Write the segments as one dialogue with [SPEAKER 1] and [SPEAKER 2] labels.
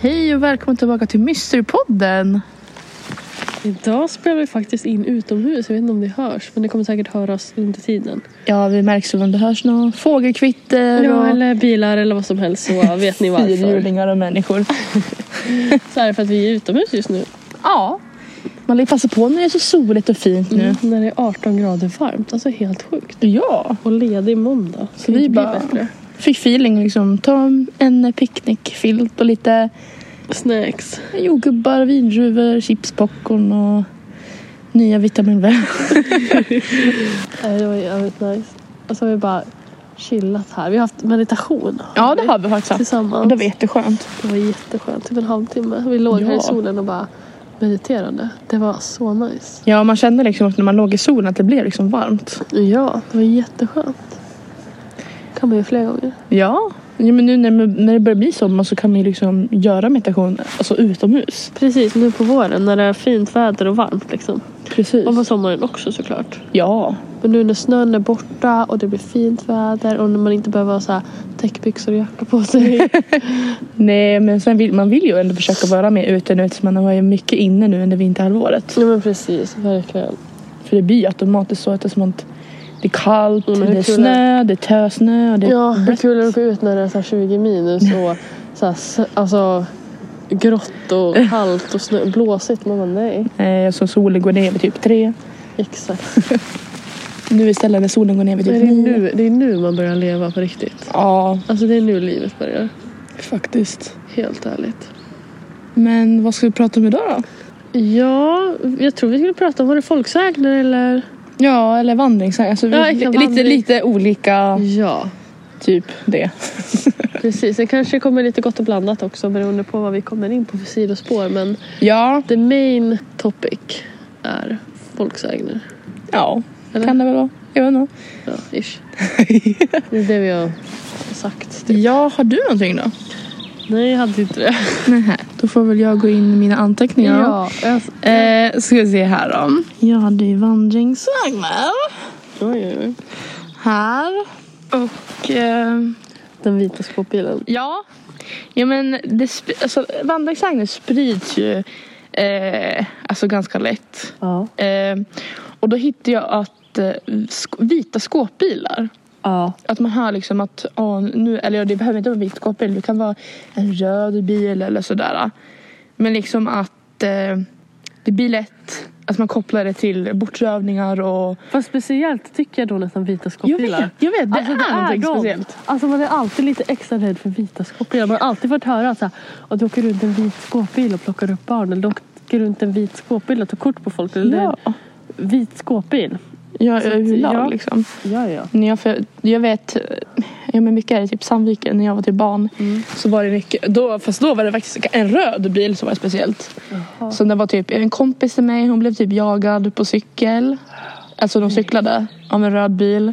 [SPEAKER 1] Hej och välkommen tillbaka till Mysterpodden.
[SPEAKER 2] Idag spelar vi faktiskt in utomhus. Jag vet inte om det hörs, men det kommer säkert höras under tiden.
[SPEAKER 1] Ja, det märks väl om det hörs några fågelkvitter
[SPEAKER 2] Ja,
[SPEAKER 1] och
[SPEAKER 2] eller bilar eller vad som helst så vet ni varför.
[SPEAKER 1] fyrhjulingar och människor.
[SPEAKER 2] Så är det för att vi är utomhus just nu.
[SPEAKER 1] ja, man lär ju passa på när det är så soligt och fint nu.
[SPEAKER 2] Mm. När det är 18 grader varmt. Alltså helt sjukt.
[SPEAKER 1] Ja,
[SPEAKER 2] Och ledig måndag.
[SPEAKER 1] Så vi
[SPEAKER 2] det blir
[SPEAKER 1] bara- fick feeling liksom. Ta en picknickfilt och lite
[SPEAKER 2] Snacks.
[SPEAKER 1] jordgubbar, vindruvor, chips, popcorn och nya vitamin V.
[SPEAKER 2] Nej, Det var jävligt nice. Och så har vi bara chillat här. Vi har haft meditation.
[SPEAKER 1] Ja, det har vi faktiskt.
[SPEAKER 2] Tillsammans.
[SPEAKER 1] Det var jätteskönt.
[SPEAKER 2] Det var jätteskönt. Typ en halvtimme. Vi låg här
[SPEAKER 1] Ja.
[SPEAKER 2] i solen och bara mediterade. Det var så nice.
[SPEAKER 1] Ja, man kände liksom att när man låg i solen att det blev liksom varmt.
[SPEAKER 2] Ja, det var jätteskönt. kan man ju flera gånger.
[SPEAKER 1] Ja. ja men nu när, när det börjar bli sommar så kan man ju liksom göra meditation alltså utomhus.
[SPEAKER 2] Precis, nu på våren när det är fint väder och varmt liksom.
[SPEAKER 1] Precis.
[SPEAKER 2] Och på sommaren också såklart.
[SPEAKER 1] Ja.
[SPEAKER 2] Men nu när snön är borta och det blir fint väder och när man inte behöver ha så här täckbyxor och jacka på sig.
[SPEAKER 1] Nej men sen vill, man vill ju ändå försöka vara mer ute nu eftersom man har varit mycket inne nu under vinterhalvåret.
[SPEAKER 2] Nej men precis, verkligen.
[SPEAKER 1] För det blir ju automatiskt så att det är, som att det är kallt,
[SPEAKER 2] Mm, men
[SPEAKER 1] det är
[SPEAKER 2] hur kul
[SPEAKER 1] snö, det är tösnö och det är
[SPEAKER 2] Ja, hur
[SPEAKER 1] blött.
[SPEAKER 2] kul är det att gå ut när det är så här 20 minus och så här, s- alltså grått och kallt och snö, blåsigt. Man bara nej.
[SPEAKER 1] Eh, så solen går ner vid typ tre.
[SPEAKER 2] Exakt.
[SPEAKER 1] Nu istället när solen går ner vid
[SPEAKER 2] Men
[SPEAKER 1] typ
[SPEAKER 2] det, är
[SPEAKER 1] nio.
[SPEAKER 2] nu, det är nu man börjar leva på riktigt.
[SPEAKER 1] Ja,
[SPEAKER 2] Alltså det är nu livet börjar.
[SPEAKER 1] faktiskt.
[SPEAKER 2] Helt ärligt.
[SPEAKER 1] Men vad ska vi prata om idag då?
[SPEAKER 2] Ja, jag tror vi skulle prata om, var det folksägner eller?
[SPEAKER 1] Ja, eller vandringssägner. Alltså, vi-
[SPEAKER 2] Ja, exakt,
[SPEAKER 1] lite,
[SPEAKER 2] vandring.
[SPEAKER 1] lite olika
[SPEAKER 2] Ja,
[SPEAKER 1] typ det.
[SPEAKER 2] precis. Det kanske kommer lite gott och blandat också beroende på vad vi kommer in på för sidospår. Men
[SPEAKER 1] Ja,
[SPEAKER 2] the main topic är folksägner.
[SPEAKER 1] ja.
[SPEAKER 2] Eller?
[SPEAKER 1] Kan det väl vara. Jag vet inte.
[SPEAKER 2] Ja, ish. Det är det vi har sagt. Typ.
[SPEAKER 1] Ja, har du någonting då?
[SPEAKER 2] Nej, jag hade inte det.
[SPEAKER 1] Nej, då får väl jag gå in i mina anteckningar.
[SPEAKER 2] alltså,
[SPEAKER 1] Eh, ska vi se här då. Jag hade ju vandringsvagnar
[SPEAKER 2] oj, oj, oj.
[SPEAKER 1] här. Och eh,
[SPEAKER 2] Den vita skåpbilen.
[SPEAKER 1] ja. ja, men det sp- alltså, vandringsvagnar sprids ju eh, alltså ganska lätt.
[SPEAKER 2] Ja.
[SPEAKER 1] Eh, och då hittade jag att eh, sk- vita skåpbilar
[SPEAKER 2] ja.
[SPEAKER 1] Att man hör liksom att, åh, nu, eller ja, det behöver inte vara vit skåpbil, det kan vara en röd bil eller sådär. Men liksom att eh, det blir lätt att man kopplar det till bortrövningar och...
[SPEAKER 2] Fast speciellt tycker jag då nästan vita
[SPEAKER 1] Jag
[SPEAKER 2] skåpbilar.
[SPEAKER 1] vet, jag vet det,
[SPEAKER 2] Alltså,
[SPEAKER 1] är, någonting speciellt.
[SPEAKER 2] Alltså man är alltid lite extra rädd för vita skåpbilar. Man har alltid fått höra att så här, "Åh, du åker runt en vit skåpbil och plockar upp barn. Eller du åker runt en vit skåpbil och tar kort på folk. Eller
[SPEAKER 1] Ja,
[SPEAKER 2] en vit skåpbil.
[SPEAKER 1] jag är överlag
[SPEAKER 2] ja.
[SPEAKER 1] liksom.
[SPEAKER 2] Ja, ja.
[SPEAKER 1] När jag, för, jag vet, ja men mycket är det typ Sandviken, när jag var typ barn. Så var det mycket, då, fast då var det faktiskt en röd bil som var speciellt. Som det var typ, en kompis till mig, hon blev typ jagad på cykel. Alltså de cyklade av en röd bil.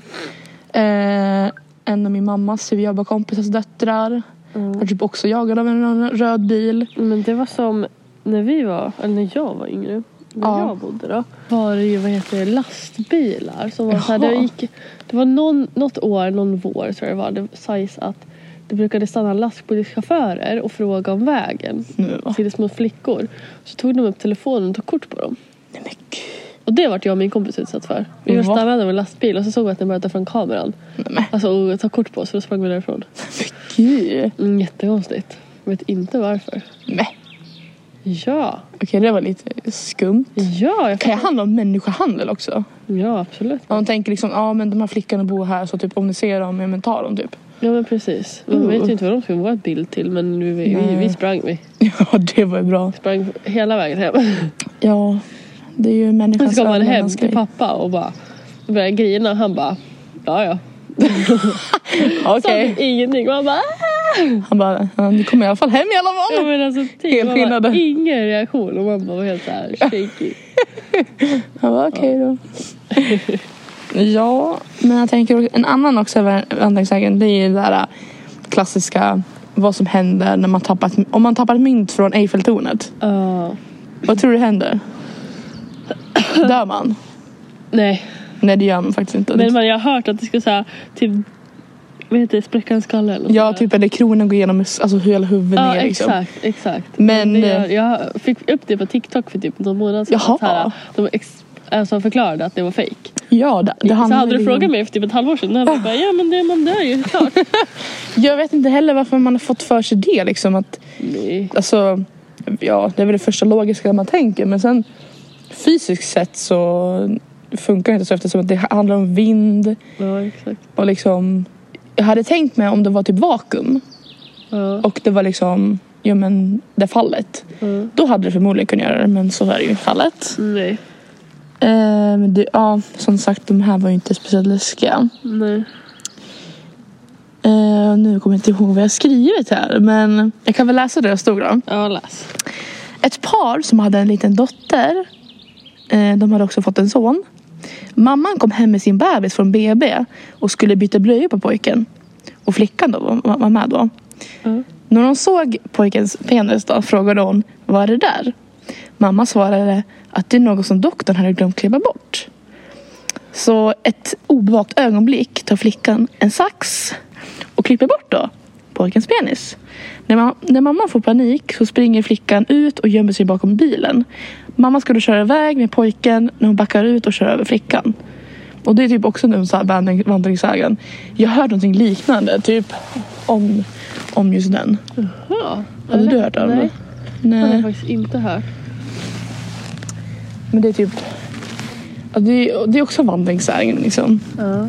[SPEAKER 1] Eh, en av min mammas typ jobbarkompisars döttrar var typ också jagad av en röd bil.
[SPEAKER 2] Men det var som när vi var, eller när jag var yngre. När
[SPEAKER 1] Ja.
[SPEAKER 2] jag bodde då. Var det ju vad heter det, lastbilar. Som var så här, det,
[SPEAKER 1] Jaha.
[SPEAKER 2] gick, det var någon, något år, någon vår tror jag det var. Det sägs att det brukade stanna lastbilschaufförer och fråga om vägen.
[SPEAKER 1] Nu va?
[SPEAKER 2] till små flickor. Så tog de upp telefonen och tog kort på dem.
[SPEAKER 1] Nej, men gud.
[SPEAKER 2] Och det vart jag och min kompis utsatt för. Vi var
[SPEAKER 1] Va?
[SPEAKER 2] stannade av en lastbil och så såg vi att den började ta fram kameran.
[SPEAKER 1] Nej,
[SPEAKER 2] Alltså och ta kort på oss och då sprang vi därifrån.
[SPEAKER 1] men gud.
[SPEAKER 2] Mm, jättekonstigt. Vet inte varför.
[SPEAKER 1] Nej.
[SPEAKER 2] Ja,
[SPEAKER 1] Okej det var lite skumt.
[SPEAKER 2] ja, jag
[SPEAKER 1] Kan det handla om människohandel också?
[SPEAKER 2] Ja, absolut.
[SPEAKER 1] Ja, de tänker liksom, ja men de här flickorna bor här så typ om ni ser dem, ja men ta dem typ.
[SPEAKER 2] Ja men precis. Vi
[SPEAKER 1] Mm.
[SPEAKER 2] vet ju inte vad de skulle vara ett bild till men vi, vi,
[SPEAKER 1] Nej.
[SPEAKER 2] vi sprang vi.
[SPEAKER 1] Ja det var ju bra.
[SPEAKER 2] Sprang hela vägen hem.
[SPEAKER 1] Ja, det är ju människans
[SPEAKER 2] Sen så kom man hem
[SPEAKER 1] överlevnadsgrej.
[SPEAKER 2] till pappa och bara började grina. Han bara ja ja.
[SPEAKER 1] Okej,
[SPEAKER 2] Sa typ ingenting. Man bara
[SPEAKER 1] han bara, ja, ni kommer i alla fall hem i alla
[SPEAKER 2] Ja
[SPEAKER 1] fall.
[SPEAKER 2] men alltså tänk,
[SPEAKER 1] Helt
[SPEAKER 2] man bara,
[SPEAKER 1] skinnade.
[SPEAKER 2] ingen reaktion och man bara var helt såhär shaky.
[SPEAKER 1] Han bara, okej då. ja, men jag tänker också- en annan också vandringssägen, det är ju det där äh, klassiska vad som händer när man tappat, om man tappat mynt från Eiffeltornet.
[SPEAKER 2] Ja.
[SPEAKER 1] Vad tror du händer? Dör man?
[SPEAKER 2] nej,
[SPEAKER 1] Nej det gör man faktiskt inte.
[SPEAKER 2] men man, jag har hört att det ska såhär typ vad heter det, spräcka en skalle eller något
[SPEAKER 1] Ja,
[SPEAKER 2] sånt där.
[SPEAKER 1] typ eller kronan går igenom alltså, hela huvudet
[SPEAKER 2] Ja,
[SPEAKER 1] ner. Liksom.
[SPEAKER 2] exakt, exakt.
[SPEAKER 1] Men- eh,
[SPEAKER 2] Det gör- jag fick upp det på TikTok för typ någon månad sedan.
[SPEAKER 1] Jaha.
[SPEAKER 2] att så här, De ex, alltså förklarade att det var fejk.
[SPEAKER 1] Ja, det, det
[SPEAKER 2] Så
[SPEAKER 1] handlar
[SPEAKER 2] hade du
[SPEAKER 1] ju-
[SPEAKER 2] frågat mig för typ ett halvår sedan, då hade jag bara, ja men det, man dör ju, klart.
[SPEAKER 1] Jag vet inte heller varför man har fått för sig det. Liksom, att,
[SPEAKER 2] Nej.
[SPEAKER 1] alltså, ja, det är väl det första logiska man tänker. Men sen fysiskt sett så funkar det inte så eftersom att det handlar om vind
[SPEAKER 2] Ja, exakt.
[SPEAKER 1] och liksom. Jag hade tänkt mig om det var typ vakuum
[SPEAKER 2] Ja.
[SPEAKER 1] och det var liksom, ja men det fallet.
[SPEAKER 2] ja.
[SPEAKER 1] Då hade det förmodligen kunnat göra det men så är det ju inte fallet.
[SPEAKER 2] Nej.
[SPEAKER 1] Eh, men det, ja, som sagt de här var ju inte speciellt läskiga.
[SPEAKER 2] Nej.
[SPEAKER 1] Eh, nu kommer jag inte ihåg vad jag skrivit här men jag kan väl läsa det jag stod då.
[SPEAKER 2] Ja, läs.
[SPEAKER 1] Ett par som hade en liten dotter. eh, De hade också fått en son. Mamman kom hem med sin bebis från BB och skulle byta blöjor på pojken. Och flickan då var- var var med då.
[SPEAKER 2] Mm.
[SPEAKER 1] När hon såg pojkens penis då frågade hon Vad är det där? Mamma svarade att det är något som doktorn hade glömt klippa bort. Så ett obevakt ögonblick tar flickan en sax och klipper bort då pojkens penis. När, ma- när mamman får panik så springer flickan ut och gömmer sig bakom bilen. Mamman ska då köra iväg med pojken när hon backar ut och kör över flickan. Och det är typ också nu så här vandring, vandringssägen. Jag hörde någonting liknande, typ om, om just den.
[SPEAKER 2] Ja.
[SPEAKER 1] Hade du
[SPEAKER 2] eller?
[SPEAKER 1] hört om det?
[SPEAKER 2] Nej, det har
[SPEAKER 1] alltså.
[SPEAKER 2] jag
[SPEAKER 1] Nej.
[SPEAKER 2] faktiskt inte hört.
[SPEAKER 1] Men det är typ... ja, Det är, det är också vandringssägen liksom.
[SPEAKER 2] Ja.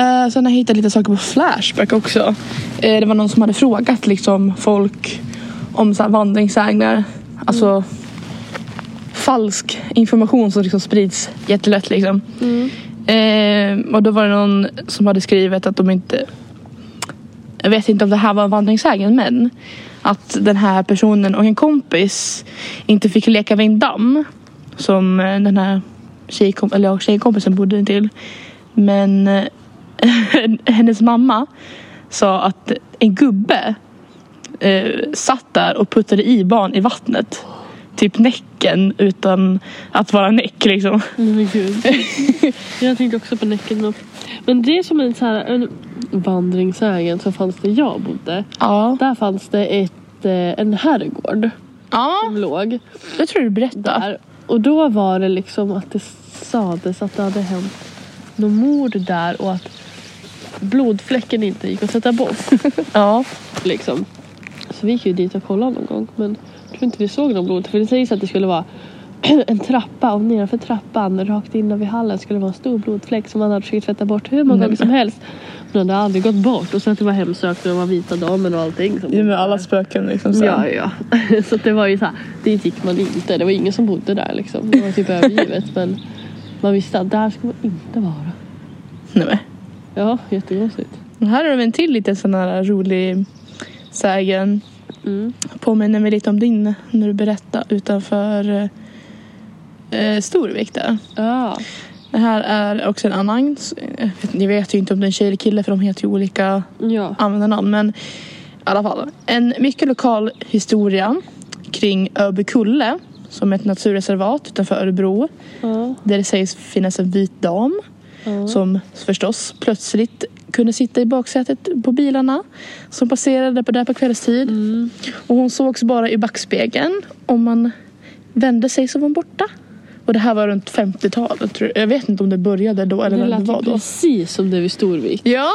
[SPEAKER 1] Eh, sen har jag hittat lite saker på Flashback också. Eh, det var någon som hade frågat liksom, folk om så här, vandringssägner. Alltså
[SPEAKER 2] Mm.
[SPEAKER 1] falsk information som liksom, sprids jättelätt. Liksom.
[SPEAKER 2] Mm.
[SPEAKER 1] Eh, och då var det någon som hade skrivit att de inte... Jag vet inte om det här var en vandringssägen men att den här personen och en kompis inte fick leka vid en damm som eh, den här tjejkom- eller, ja, tjejkompisen bodde intill. Men eh, hennes mamma sa att en gubbe eh, satt där och puttade i barn i vattnet. Typ näcken utan att vara näck liksom.
[SPEAKER 2] Nej, Mm, men gud. jag tänkte också på Näcken. och- Men det är som en, så här, en vandringssägen så fanns det jag bodde.
[SPEAKER 1] Ja,
[SPEAKER 2] Där fanns det ett, eh, en herrgård
[SPEAKER 1] ja
[SPEAKER 2] som låg.
[SPEAKER 1] det tror jag du berättade.
[SPEAKER 2] där. Och då var det liksom att det sades att det hade hänt något mord där och att blodfläcken inte gick att sätta bort.
[SPEAKER 1] Ja.
[SPEAKER 2] liksom. Så vi gick ju dit och kollade någon gång men jag tror inte vi såg någon blod. För det sägs att det skulle vara en trappa och nedanför trappan rakt innan vid hallen skulle vara en stor blodfläck som man hade försökt tvätta bort hur många
[SPEAKER 1] Nej,
[SPEAKER 2] gånger
[SPEAKER 1] men-
[SPEAKER 2] som helst. Men det hade aldrig gått bort och så att det var hemsökt och det var vita damen och allting. Som
[SPEAKER 1] spöken liksom.
[SPEAKER 2] Ja, ja. Så att det var ju så här, dit gick man inte. Det var ingen som bodde där liksom. Det var typ övergivet men man visste att där ska man inte vara.
[SPEAKER 1] Nej, men.
[SPEAKER 2] Ja, jättekonstigt.
[SPEAKER 1] Och Här har vi en till liten sån här rolig sägen.
[SPEAKER 2] Mm.
[SPEAKER 1] Påminner mig lite om din när du berättade utanför eh, Storvik där.
[SPEAKER 2] Ja.
[SPEAKER 1] Det här är också en annan. Jag vet- Ni vet ju inte om det är en tjej eller kille för de heter ju olika
[SPEAKER 2] Ja.
[SPEAKER 1] användarnamn. Men i alla fall. En mycket lokal historia kring Öbykulle som är ett naturreservat utanför Örebro.
[SPEAKER 2] ja.
[SPEAKER 1] Där det sägs finnas en vit dam
[SPEAKER 2] ja.
[SPEAKER 1] som förstås plötsligt kunde sitta i baksätet på bilarna som passerade på där på kvällstid.
[SPEAKER 2] Mm.
[SPEAKER 1] Och hon sågs bara i backspegeln. Om man vände sig så var hon borta. Och det här var runt 50-talet. tror jag. Jag vet inte om det började då eller
[SPEAKER 2] Det
[SPEAKER 1] när det
[SPEAKER 2] lät
[SPEAKER 1] var
[SPEAKER 2] ju
[SPEAKER 1] då.
[SPEAKER 2] precis som det vid Storvik.
[SPEAKER 1] Ja,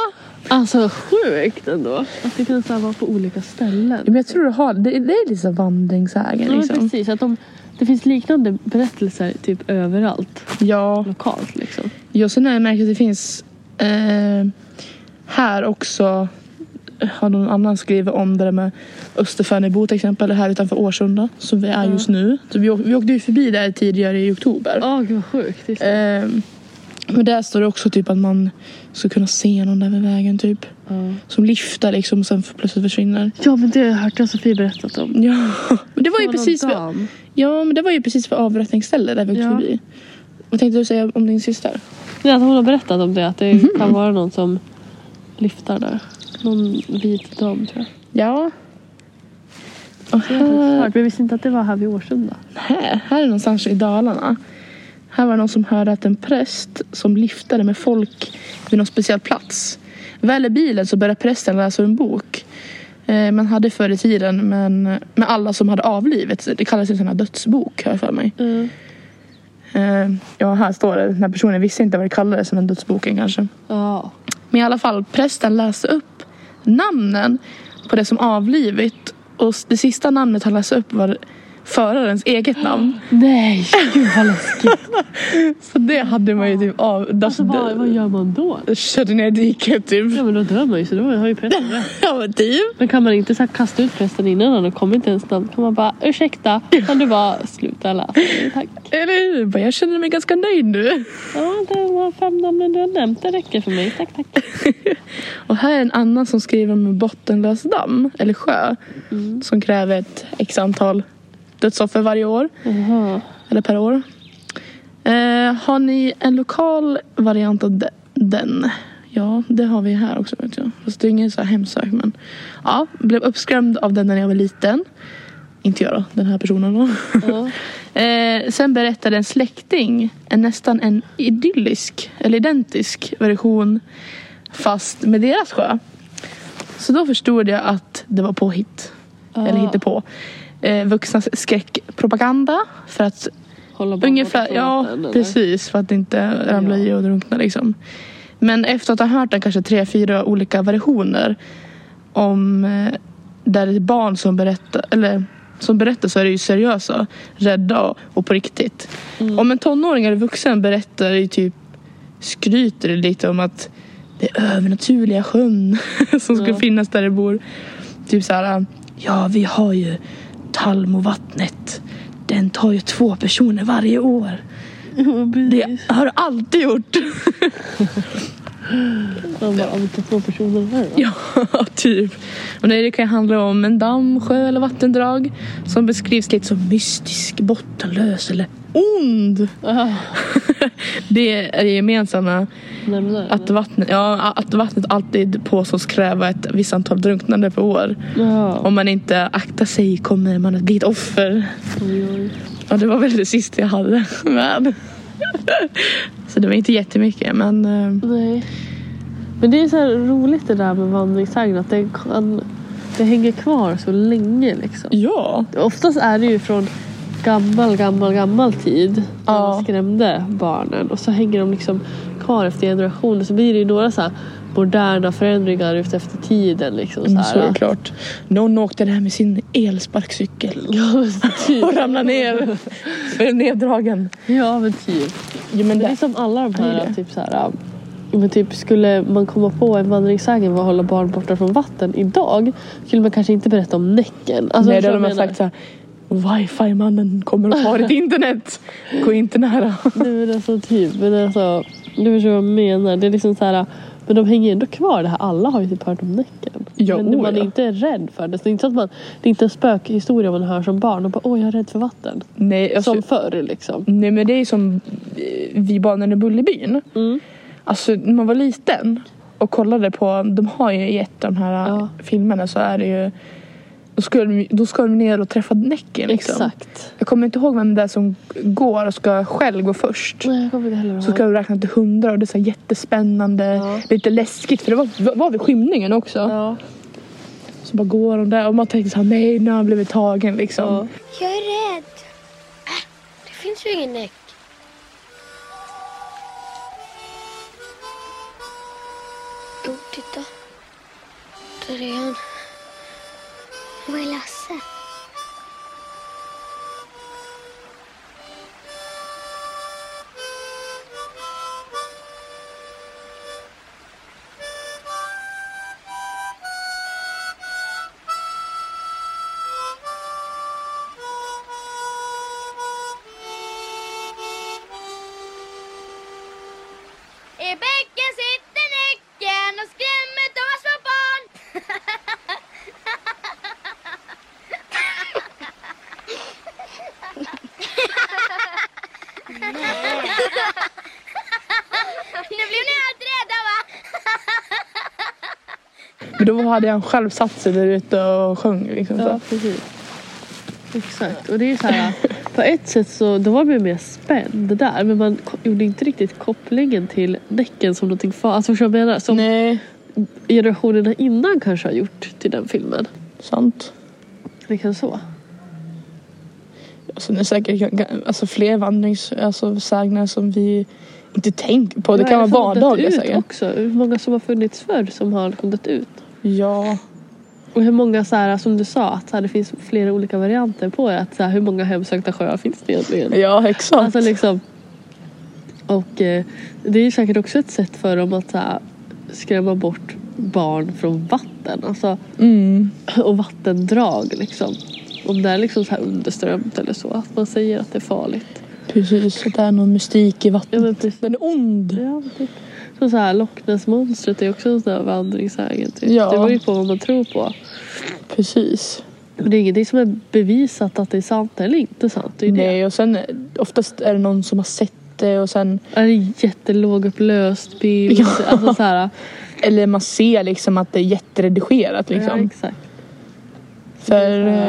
[SPEAKER 2] Alltså sjukt ändå. Att det kan så här vara på olika ställen.
[SPEAKER 1] men jag tror det har. Det, det är lite vandringssägen
[SPEAKER 2] Ja, men
[SPEAKER 1] liksom.
[SPEAKER 2] precis. Att de, det finns liknande berättelser typ överallt.
[SPEAKER 1] Ja,
[SPEAKER 2] Lokalt liksom.
[SPEAKER 1] jag sen har jag märkt att det finns eh, här också. eh, Har någon annan skrivit om det där med Österfärnebo till exempel. Här utanför Årsunda som vi är
[SPEAKER 2] Ja.
[SPEAKER 1] just nu. Så vi, åk- vi åkte ju förbi där tidigare i oktober.
[SPEAKER 2] Ja, gud vad sjukt. Just det.
[SPEAKER 1] Ehm, men där står det också typ att man ska kunna se någon där vid vägen typ.
[SPEAKER 2] Ja.
[SPEAKER 1] Som lyfter liksom och sen plötsligt försvinner.
[SPEAKER 2] Ja, men det har jag hört jag och Sofie berättat om.
[SPEAKER 1] Ja, men det var ju
[SPEAKER 2] någon
[SPEAKER 1] precis vid,
[SPEAKER 2] dam.
[SPEAKER 1] ja, men det var ju precis vid avrättningsstället där vi åkte
[SPEAKER 2] Ja.
[SPEAKER 1] förbi. Vad tänkte du säga om din syster?
[SPEAKER 2] Nej, att hon har berättat om det. Att det kan vara någon som lyftar där. Någon vit dam tror jag. Eh.
[SPEAKER 1] Ja. Och
[SPEAKER 2] Det har jag faktiskt
[SPEAKER 1] här,
[SPEAKER 2] hört, men jag visste inte att det var här vid Årsunda.
[SPEAKER 1] här, här är någonstans i Dalarna. Här var det någon som hörde att en präst som lyftade med folk vid någon speciell plats. Väl i bilen så började prästen läsa ur en bok. Eh, man hade förr i tiden men, med alla som hade avlidit. Det kallas ju en sån här dödsbok har jag för mig.
[SPEAKER 2] Mm.
[SPEAKER 1] Eh, ja, här står det. Den här personen visste inte vad det kallades, men dödsboken kanske.
[SPEAKER 2] Ja.
[SPEAKER 1] Men i alla fall, prästen läste upp namnen på det som avlivit. Och det sista namnet han läste upp var förarens eget namn.
[SPEAKER 2] Nej, gud vad läskigt.
[SPEAKER 1] Så det hade man ju typ av...
[SPEAKER 2] Alltså, vad, vad gör man då?
[SPEAKER 1] Körde ner i diket
[SPEAKER 2] Ja
[SPEAKER 1] typ.
[SPEAKER 2] men då dör man ju så då har ju prästen rätt.
[SPEAKER 1] Ja men typ.
[SPEAKER 2] Men kan man inte så här kasta ut prästen innan han har kommit ens namn? Kan man bara ursäkta, kan du bara sluta läsa? nu, Tack.
[SPEAKER 1] Eller hur? Bara, Jag känner mig ganska nöjd nu.
[SPEAKER 2] Ja, det var fem namnen du har nämnt. Det räcker för mig. Tack, tack.
[SPEAKER 1] Och här är en annan som skriver om en bottenlös damm, eller sjö.
[SPEAKER 2] Mm.
[SPEAKER 1] Som kräver ett x antal dödsoffer varje år.
[SPEAKER 2] Jaha.
[SPEAKER 1] Eller per år. Eh, har ni en lokal variant av de- den? Ja, det har vi här också vet jag. Fast det är ingen så här hemsök men. Ja, blev uppskrämd av den när jag var liten. Inte jag då, den här personen då.
[SPEAKER 2] Ja.
[SPEAKER 1] Eh, sen berättade en släkting en nästan en idyllisk, eller identisk version fast med deras sjö. Så då förstod jag att det var påhitt.
[SPEAKER 2] Ah.
[SPEAKER 1] Eller hittepå. Eh, vuxnas skräckpropaganda för att
[SPEAKER 2] Hålla barn
[SPEAKER 1] Ungefär,
[SPEAKER 2] borta från
[SPEAKER 1] ja
[SPEAKER 2] vatten, eller?
[SPEAKER 1] precis för att inte ramla i och drunkna liksom. Men efter att ha hört den kanske tre, fyra olika versioner om eh, där det är barn som berättar, eller som berättar så är det ju seriösa, rädda och- och på riktigt. Om en tonåring eller vuxen berättar i typ skryter det lite om att det är övernaturliga sjön som ska
[SPEAKER 2] Ja.
[SPEAKER 1] finnas där det bor. Typ så här, ja vi har ju Talmovattnet. Den tar ju två personer varje år.
[SPEAKER 2] Ja, precis.
[SPEAKER 1] Det har det alltid gjort.
[SPEAKER 2] Man bara, vilka två personer här då?
[SPEAKER 1] ja, typ. Och nej, det kan ju handla om en damm, sjö eller vattendrag som beskrivs lite som mystisk, bottenlös eller ond.
[SPEAKER 2] Aha.
[SPEAKER 1] det är det gemensamma.
[SPEAKER 2] Nämnare.
[SPEAKER 1] Att vattnet, ja, att vattnet alltid påstås kräva ett visst antal drunknande per år.
[SPEAKER 2] Ja.
[SPEAKER 1] Om man inte aktar sig kommer man att bli ett offer.
[SPEAKER 2] Oj, oj.
[SPEAKER 1] Ja, det var väl det sista jag hade med. Så det var inte jättemycket, men eh,
[SPEAKER 2] Nej. Men det är så här roligt det där med vandringssägner. Att det, kan, det hänger kvar så länge liksom.
[SPEAKER 1] ja.
[SPEAKER 2] Oftast är det ju från gammal, gammal, gammal tid. När
[SPEAKER 1] Ja.
[SPEAKER 2] man skrämde barnen. Och så hänger de liksom kvar efter generationer. Så blir det ju några så här moderna förändringar ut efter tiden. Liksom, så
[SPEAKER 1] Men så är
[SPEAKER 2] här.
[SPEAKER 1] det klart. Mm, Någon åkte där med sin elsparkcykel
[SPEAKER 2] Ja, men typ.
[SPEAKER 1] och ramlade ner. Blev neddragen.
[SPEAKER 2] Ja, men typ.
[SPEAKER 1] Jo, men
[SPEAKER 2] Men det
[SPEAKER 1] det,
[SPEAKER 2] är som alla de
[SPEAKER 1] Ja, det är
[SPEAKER 2] här,
[SPEAKER 1] det.
[SPEAKER 2] typ så här um, men typ skulle man komma på en vandringssägen var att hålla barn borta från vatten idag skulle man kanske inte berätta om Näcken. Alltså,
[SPEAKER 1] nej, då hade
[SPEAKER 2] förstår du vad
[SPEAKER 1] man
[SPEAKER 2] jag menar?
[SPEAKER 1] sagt så här. Wifi-mannen kommer att ha ditt internet. Gå inte nära.
[SPEAKER 2] Nej men alltså typ, men alltså du förstår vad jag menar. Det är liksom så här, men de hänger ändå kvar det här. Alla har ju typ hört om Näcken.
[SPEAKER 1] Ja,
[SPEAKER 2] men
[SPEAKER 1] oh,
[SPEAKER 2] man
[SPEAKER 1] ja.
[SPEAKER 2] är inte rädd för det. Så det är inte så att man, det är inte en spökhistoria man hör som barn och bara åh jag är rädd för vatten.
[SPEAKER 1] Nej, alltså,
[SPEAKER 2] Som förr liksom.
[SPEAKER 1] nej, men det är som eh, vi barnen i Bullerbyn.
[SPEAKER 2] Mm.
[SPEAKER 1] Alltså när man var liten och kollade på, de har ju i ett av de här eh,
[SPEAKER 2] Ja.
[SPEAKER 1] filmerna så är det ju då ska, de, då ska de ner och träffa Näcken liksom.
[SPEAKER 2] Exakt.
[SPEAKER 1] Jag kommer inte ihåg vem det är som går och ska själv gå först.
[SPEAKER 2] Nej jag kommer inte heller ihåg.
[SPEAKER 1] Så ska du räkna till hundra och det är så här jättespännande,
[SPEAKER 2] Ja.
[SPEAKER 1] lite läskigt för det var, var vid skymningen också.
[SPEAKER 2] Ja.
[SPEAKER 1] Så bara går de där och man tänker så här, nej nu har han blivit tagen liksom.
[SPEAKER 2] ja.
[SPEAKER 3] Jag är rädd. Äh, det finns ju ingen näck. Jo, titta. Där är han. Var är Lasse? I bäcken sitter näcken och skrämmer de små barn. Nu blev ni allt rädda va?
[SPEAKER 1] Men då hade han själv satt sig där ute och sjöng liksom. Så.
[SPEAKER 2] Ja, precis. Exakt. Och det är ju så här, på ett sätt så då var man ju mer spänd där men man ko- gjorde inte riktigt kopplingen till däcken som någonting farligt. Alltså förstår du vad jag menar? Som
[SPEAKER 1] Nej.
[SPEAKER 2] generationerna innan kanske har gjort till den filmen.
[SPEAKER 1] Sant.
[SPEAKER 2] Det kan så.
[SPEAKER 1] Sen är det säkert alltså, fler vandringssägner alltså, sägner som vi inte tänker på. Det
[SPEAKER 2] Ja,
[SPEAKER 1] kan vara
[SPEAKER 2] eller som har dött
[SPEAKER 1] vardagliga
[SPEAKER 2] ut
[SPEAKER 1] sägner.
[SPEAKER 2] också. Hur många som har funnits förr som har liksom dött ut.
[SPEAKER 1] Ja.
[SPEAKER 2] Och hur många, så här, som du sa, att så här, det finns flera olika varianter på det. Att, så här, hur många hemsökta sjöar finns det egentligen?
[SPEAKER 1] ja, exakt.
[SPEAKER 2] Alltså liksom. Och eh, det är ju säkert också ett sätt för dem att så här, skrämma bort barn från vatten. Alltså,
[SPEAKER 1] mm.
[SPEAKER 2] och vattendrag liksom. Om det är liksom så här underströmt eller så. Att man säger att det är farligt.
[SPEAKER 1] Precis, att det är någon mystik i
[SPEAKER 2] Ja
[SPEAKER 1] vattnet.
[SPEAKER 2] men precis.
[SPEAKER 1] Den är ond.
[SPEAKER 2] Ja, typ. Så, så här, Loch Ness-monstret är också en sån här vandringssägen. Typ.
[SPEAKER 1] Ja.
[SPEAKER 2] Det beror ju på vad man tror på.
[SPEAKER 1] Precis.
[SPEAKER 2] Men det är ingenting som är bevisat att det är sant eller inte sant. Det är ju det.
[SPEAKER 1] Nej, och sen eh, oftast är det någon som har sett det och sen
[SPEAKER 2] Är det jättelågupplöst bild?
[SPEAKER 1] Ja.
[SPEAKER 2] Alltså så här,
[SPEAKER 1] eller man ser liksom att det är jätteredigerat liksom.
[SPEAKER 2] ja, exakt.
[SPEAKER 1] För eh,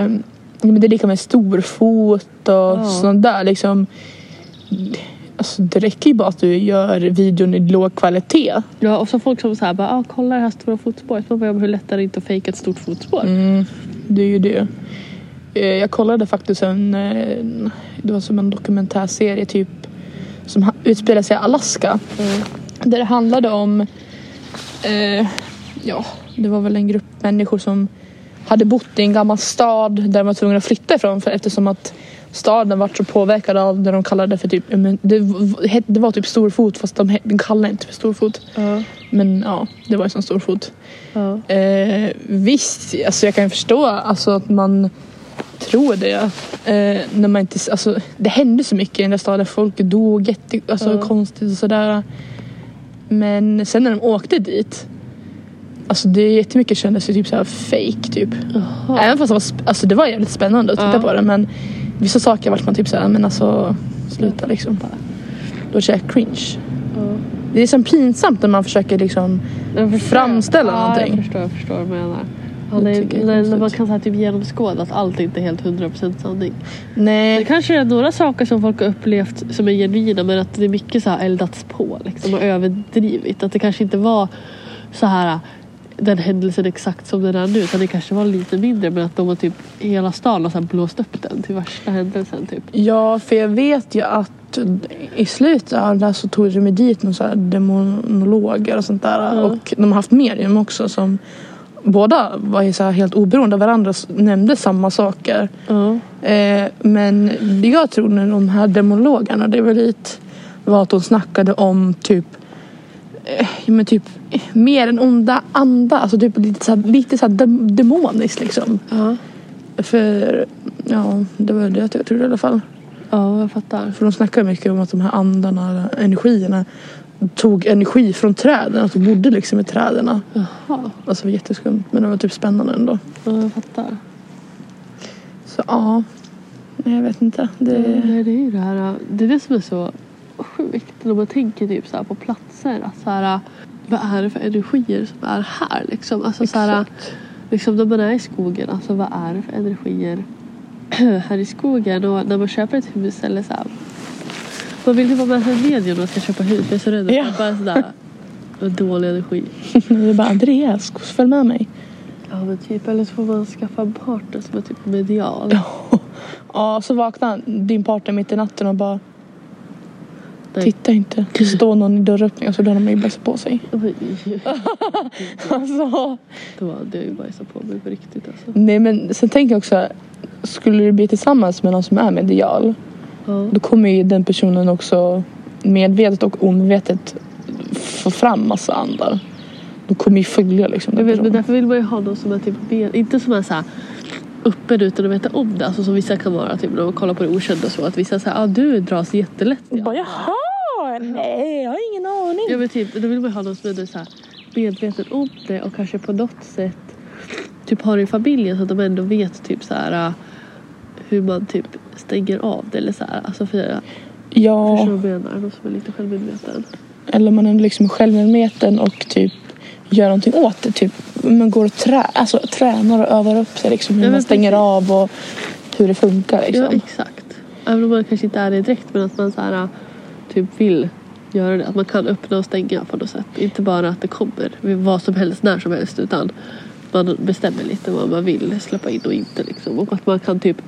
[SPEAKER 1] ja, men det är lika med storfot och
[SPEAKER 2] Ja.
[SPEAKER 1] sånt där liksom. Alltså, det räcker ju bara att du gör videon i låg kvalitet.
[SPEAKER 2] Ja, och så folk som så här bara, ah, kolla det här stora fotspåret. Man bara, "Ja, men hur lätt är det inte att fejka ett stort fotspår?
[SPEAKER 1] Mm, det är ju det. Eh, Jag kollade faktiskt en, eh, det var som en dokumentärserie typ som ha- utspelar sig i Alaska.
[SPEAKER 2] Mm.
[SPEAKER 1] Där det handlade om, eh, ja det var väl en grupp människor som hade bott i en gammal stad där de var tvungna att flytta ifrån för eftersom att staden var så påverkad av det de kallade för typ, ja, men det, v- het- det var typ storfot fast de, he- de kallade inte för storfot.
[SPEAKER 2] Ja,
[SPEAKER 1] Men ja, det var ju som storfot.
[SPEAKER 2] ja.
[SPEAKER 1] Eh, visst, alltså jag kan ju förstå alltså, att man tror det. Eh, när man inte, alltså, det hände så mycket i den där staden. Folk dog jätte, alltså,
[SPEAKER 2] Ja.
[SPEAKER 1] konstigt och sådär. Men sen när de åkte dit. Alltså det är jättemycket kändes ju typ såhär fake typ.
[SPEAKER 2] Jaha.
[SPEAKER 1] Även fast det var, sp- alltså, det var jävligt spännande att titta
[SPEAKER 2] Ja.
[SPEAKER 1] på det men vissa saker vart man typ såhär, men alltså sluta liksom. Då känner jag cringe.
[SPEAKER 2] Ja.
[SPEAKER 1] Det är som pinsamt när man försöker liksom
[SPEAKER 2] Jag förstår.
[SPEAKER 1] Framställa
[SPEAKER 2] ja,
[SPEAKER 1] någonting.
[SPEAKER 2] jag förstår, jag förstår vad du menar. Ja,
[SPEAKER 1] Det
[SPEAKER 2] det
[SPEAKER 1] tycker
[SPEAKER 2] är,
[SPEAKER 1] jag är
[SPEAKER 2] när, när man
[SPEAKER 1] konstigt.
[SPEAKER 2] kan så här, typ genomskåda att allt inte är helt 100% sanning. Det
[SPEAKER 1] Nej,
[SPEAKER 2] kanske är några saker som folk har upplevt som är genuina men att det är mycket så här eldats på liksom, och överdrivit. Att det kanske inte var så här den händelsen exakt som den är nu utan det kanske var lite mindre men att de har typ hela stan har så här blåst upp den till värsta händelsen typ.
[SPEAKER 1] Ja, för jag vet ju att i slutet av det här så tog de ju dit någon så här demonologer och sånt där.
[SPEAKER 2] Ja.
[SPEAKER 1] Och de har haft medium också som båda var ju så här helt oberoende av varandra och nämnde samma saker.
[SPEAKER 2] Ja.
[SPEAKER 1] Eh, men det jag tror när de här demonologerna det var lite var att de snackade om typ eh, ja, men typ eh, mer än onda anda, alltså typ lite så här, lite så här dem- demoniskt liksom.
[SPEAKER 2] Ja.
[SPEAKER 1] För ja, det var det jag trodde i alla fall.
[SPEAKER 2] ja, jag fattar.
[SPEAKER 1] För de snackar mycket om att de här andarna, energierna tog energi från träden, att de bodde liksom i träden. Alltså
[SPEAKER 2] Jaha,
[SPEAKER 1] det var jätteskumt men det var typ spännande ändå.
[SPEAKER 2] ja, jag fattar.
[SPEAKER 1] Så ja, nej jag vet inte. Det...
[SPEAKER 2] Nej, Eh, det är ju det här. Det är det som är så sjukt när man tänker typ så här på platser. Att så här, vad är det för energier som är här liksom? Alltså så här,
[SPEAKER 1] Exakt.
[SPEAKER 2] liksom när man är i skogen, alltså vad är det för energier här i skogen? Och när man köper ett hus eller så här. Man vill ju vara med sig i medium när man ska köpa hus. Jag är så rädd att
[SPEAKER 1] Ja.
[SPEAKER 2] man bara sådär. vad Dålig energi.
[SPEAKER 1] Det är bara Andreas, följ med mig.
[SPEAKER 2] Ja men typ, eller så får man skaffa en partner som är typ medial.
[SPEAKER 1] Ja, så vaknar din partner mitt i natten och bara
[SPEAKER 2] Nej.
[SPEAKER 1] Titta inte, det står någon i dörröppningen så drar de möbler på sig.
[SPEAKER 2] Oj,
[SPEAKER 1] Alltså.
[SPEAKER 2] då hade jag ju bajsat på mig på riktigt alltså.
[SPEAKER 1] Nej men sen tänker jag också, skulle du bli tillsammans med någon som är medial
[SPEAKER 2] Ja.
[SPEAKER 1] då kommer ju den personen också medvetet och omedvetet få fram massa andar. Då kommer ju följa liksom
[SPEAKER 2] Jag
[SPEAKER 1] den
[SPEAKER 2] vet, men
[SPEAKER 1] personen.
[SPEAKER 2] därför vill man ju ha någon som är typ mer, inte som är såhär öppen utan att veta om det. Alltså som vissa kan vara typ när man kollar på det okända och så. Att vissa säger ah, du dras jättelätt.
[SPEAKER 1] Och
[SPEAKER 2] Ja.
[SPEAKER 1] bara jaha, nej jag har ingen aning.
[SPEAKER 2] Ja men typ, då vill man ju ha någon som är så här medveten om det och kanske på något sätt typ har det i familjen så att de ändå vet typ så här äh, hur man typ stänger av det eller så här. Alltså för jag
[SPEAKER 1] Ja,
[SPEAKER 2] förstår vad jag menar. Någon som är lite självmedveten.
[SPEAKER 1] eller man är liksom självmedveten och typ gör någonting åt det. Typ man går och trä, alltså, tränar och övar upp sig liksom hur
[SPEAKER 2] Ja, men
[SPEAKER 1] man stänger
[SPEAKER 2] precis.
[SPEAKER 1] av och hur det funkar
[SPEAKER 2] Ja
[SPEAKER 1] liksom.
[SPEAKER 2] exakt. Även om man kanske inte är det direkt men att man så här äh, typ vill göra det. Att man kan öppna och stänga på något sätt. Inte bara att det kommer vad som helst när som helst utan man bestämmer lite vad man vill släppa in och inte liksom. Och att man kan typ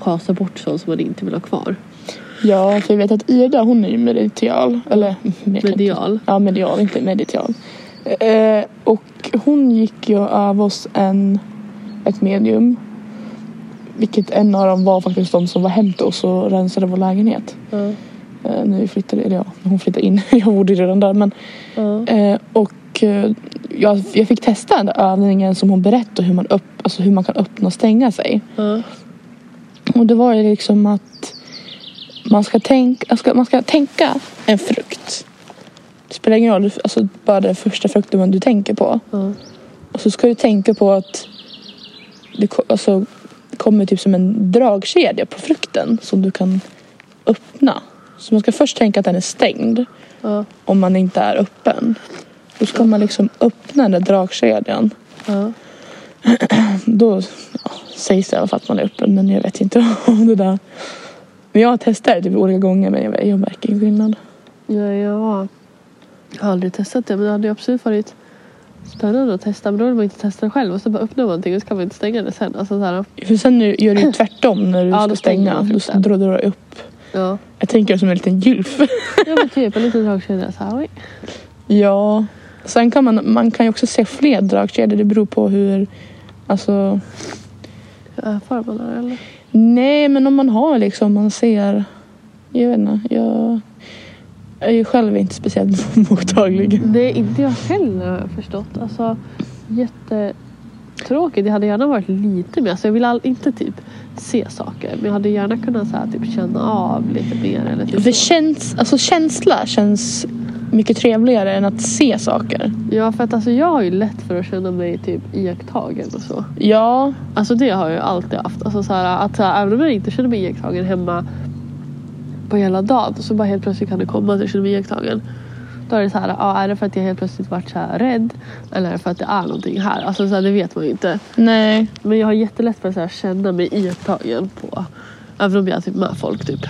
[SPEAKER 2] schasa bort sånt som man inte vill ha kvar.
[SPEAKER 1] Ja, för jag vet att Ida hon är ju medial. Eller
[SPEAKER 2] Medial.
[SPEAKER 1] Ja, medial, inte medital. Eh, och hon gick ju av oss en, ett medium. Vilket en av dem var faktiskt de som var hem till oss och rensade vår lägenhet.
[SPEAKER 2] Ja.
[SPEAKER 1] Eh, när vi flyttade, eller ja, när hon flyttade in. jag bodde ju redan där men.
[SPEAKER 2] Ja.
[SPEAKER 1] Eh, och eh, jag, jag fick testa den där övningen som hon berättade hur man, upp, alltså hur man kan öppna och stänga sig.
[SPEAKER 2] Ja.
[SPEAKER 1] Och det var ju liksom att man ska, tänk, man ska, man ska tänka en frukt. Det spelar ingen roll, alltså bara den första frukten man- du tänker på.
[SPEAKER 2] Ja.
[SPEAKER 1] Och så ska du tänka på att det ko- alltså, kommer typ som en dragkedja på frukten som du kan öppna. Så man ska först tänka att den är stängd
[SPEAKER 2] Ja.
[SPEAKER 1] om man inte är öppen. Då ska man liksom öppna den där dragkedjan.
[SPEAKER 2] Ja.
[SPEAKER 1] Då ja, sägs det i alla fall att man är öppen men jag vet inte om det där. Men jag har testat det typ olika gånger men jag, jag märker ingen skillnad.
[SPEAKER 2] Ja, ja. Jag har aldrig testat det men det hade ju absolut varit spännande att testa. Men då vill man inte testa det själv och så bara öppnar man någonting och så kan man inte stänga det sen. Alltså så här,
[SPEAKER 1] För sen nu gör du ju tvärtom när du
[SPEAKER 2] Ja,
[SPEAKER 1] ska
[SPEAKER 2] då stänger
[SPEAKER 1] stänga.
[SPEAKER 2] man
[SPEAKER 1] Då
[SPEAKER 2] frukten.
[SPEAKER 1] drar du upp.
[SPEAKER 2] ja.
[SPEAKER 1] Jag tänker som en liten gylf.
[SPEAKER 2] ja men typ en liten dragkedja så här. Oj.
[SPEAKER 1] ja. Sen kan man, man kan ju också se fler dragkedjor. Det beror på hur... Alltså...
[SPEAKER 2] Erfar man det eller?
[SPEAKER 1] Nej, men om man har liksom, man ser... Jag vet inte, jag är ju själv inte speciellt mottaglig.
[SPEAKER 2] Det är inte jag heller har jag förstått. Alltså jättetråkigt. Jag hade gärna varit lite mer. Alltså, jag vill all, inte typ se saker. Men jag hade gärna kunnat så här, typ, känna av lite mer. Eller typ
[SPEAKER 1] För
[SPEAKER 2] så.
[SPEAKER 1] käns, alltså känsla känns mycket trevligare än att se saker.
[SPEAKER 2] Ja för att alltså, jag har ju lätt för att känna mig typ iakttagen och så.
[SPEAKER 1] Ja,
[SPEAKER 2] Alltså det har jag ju alltid haft. Alltså så här, att så här, även om jag inte känner mig iakttagen hemma på hela dagen så bara helt plötsligt kan det komma att jag känner mig iakttagen. Då är det så här, ja, är det för att jag helt plötsligt varit så här rädd? Eller är det för att det är någonting här? Alltså så här, det vet man ju inte.
[SPEAKER 1] nej.
[SPEAKER 2] Men jag har jättelätt för att så här, känna mig iakttagen på Även om jag är typ med folk typ.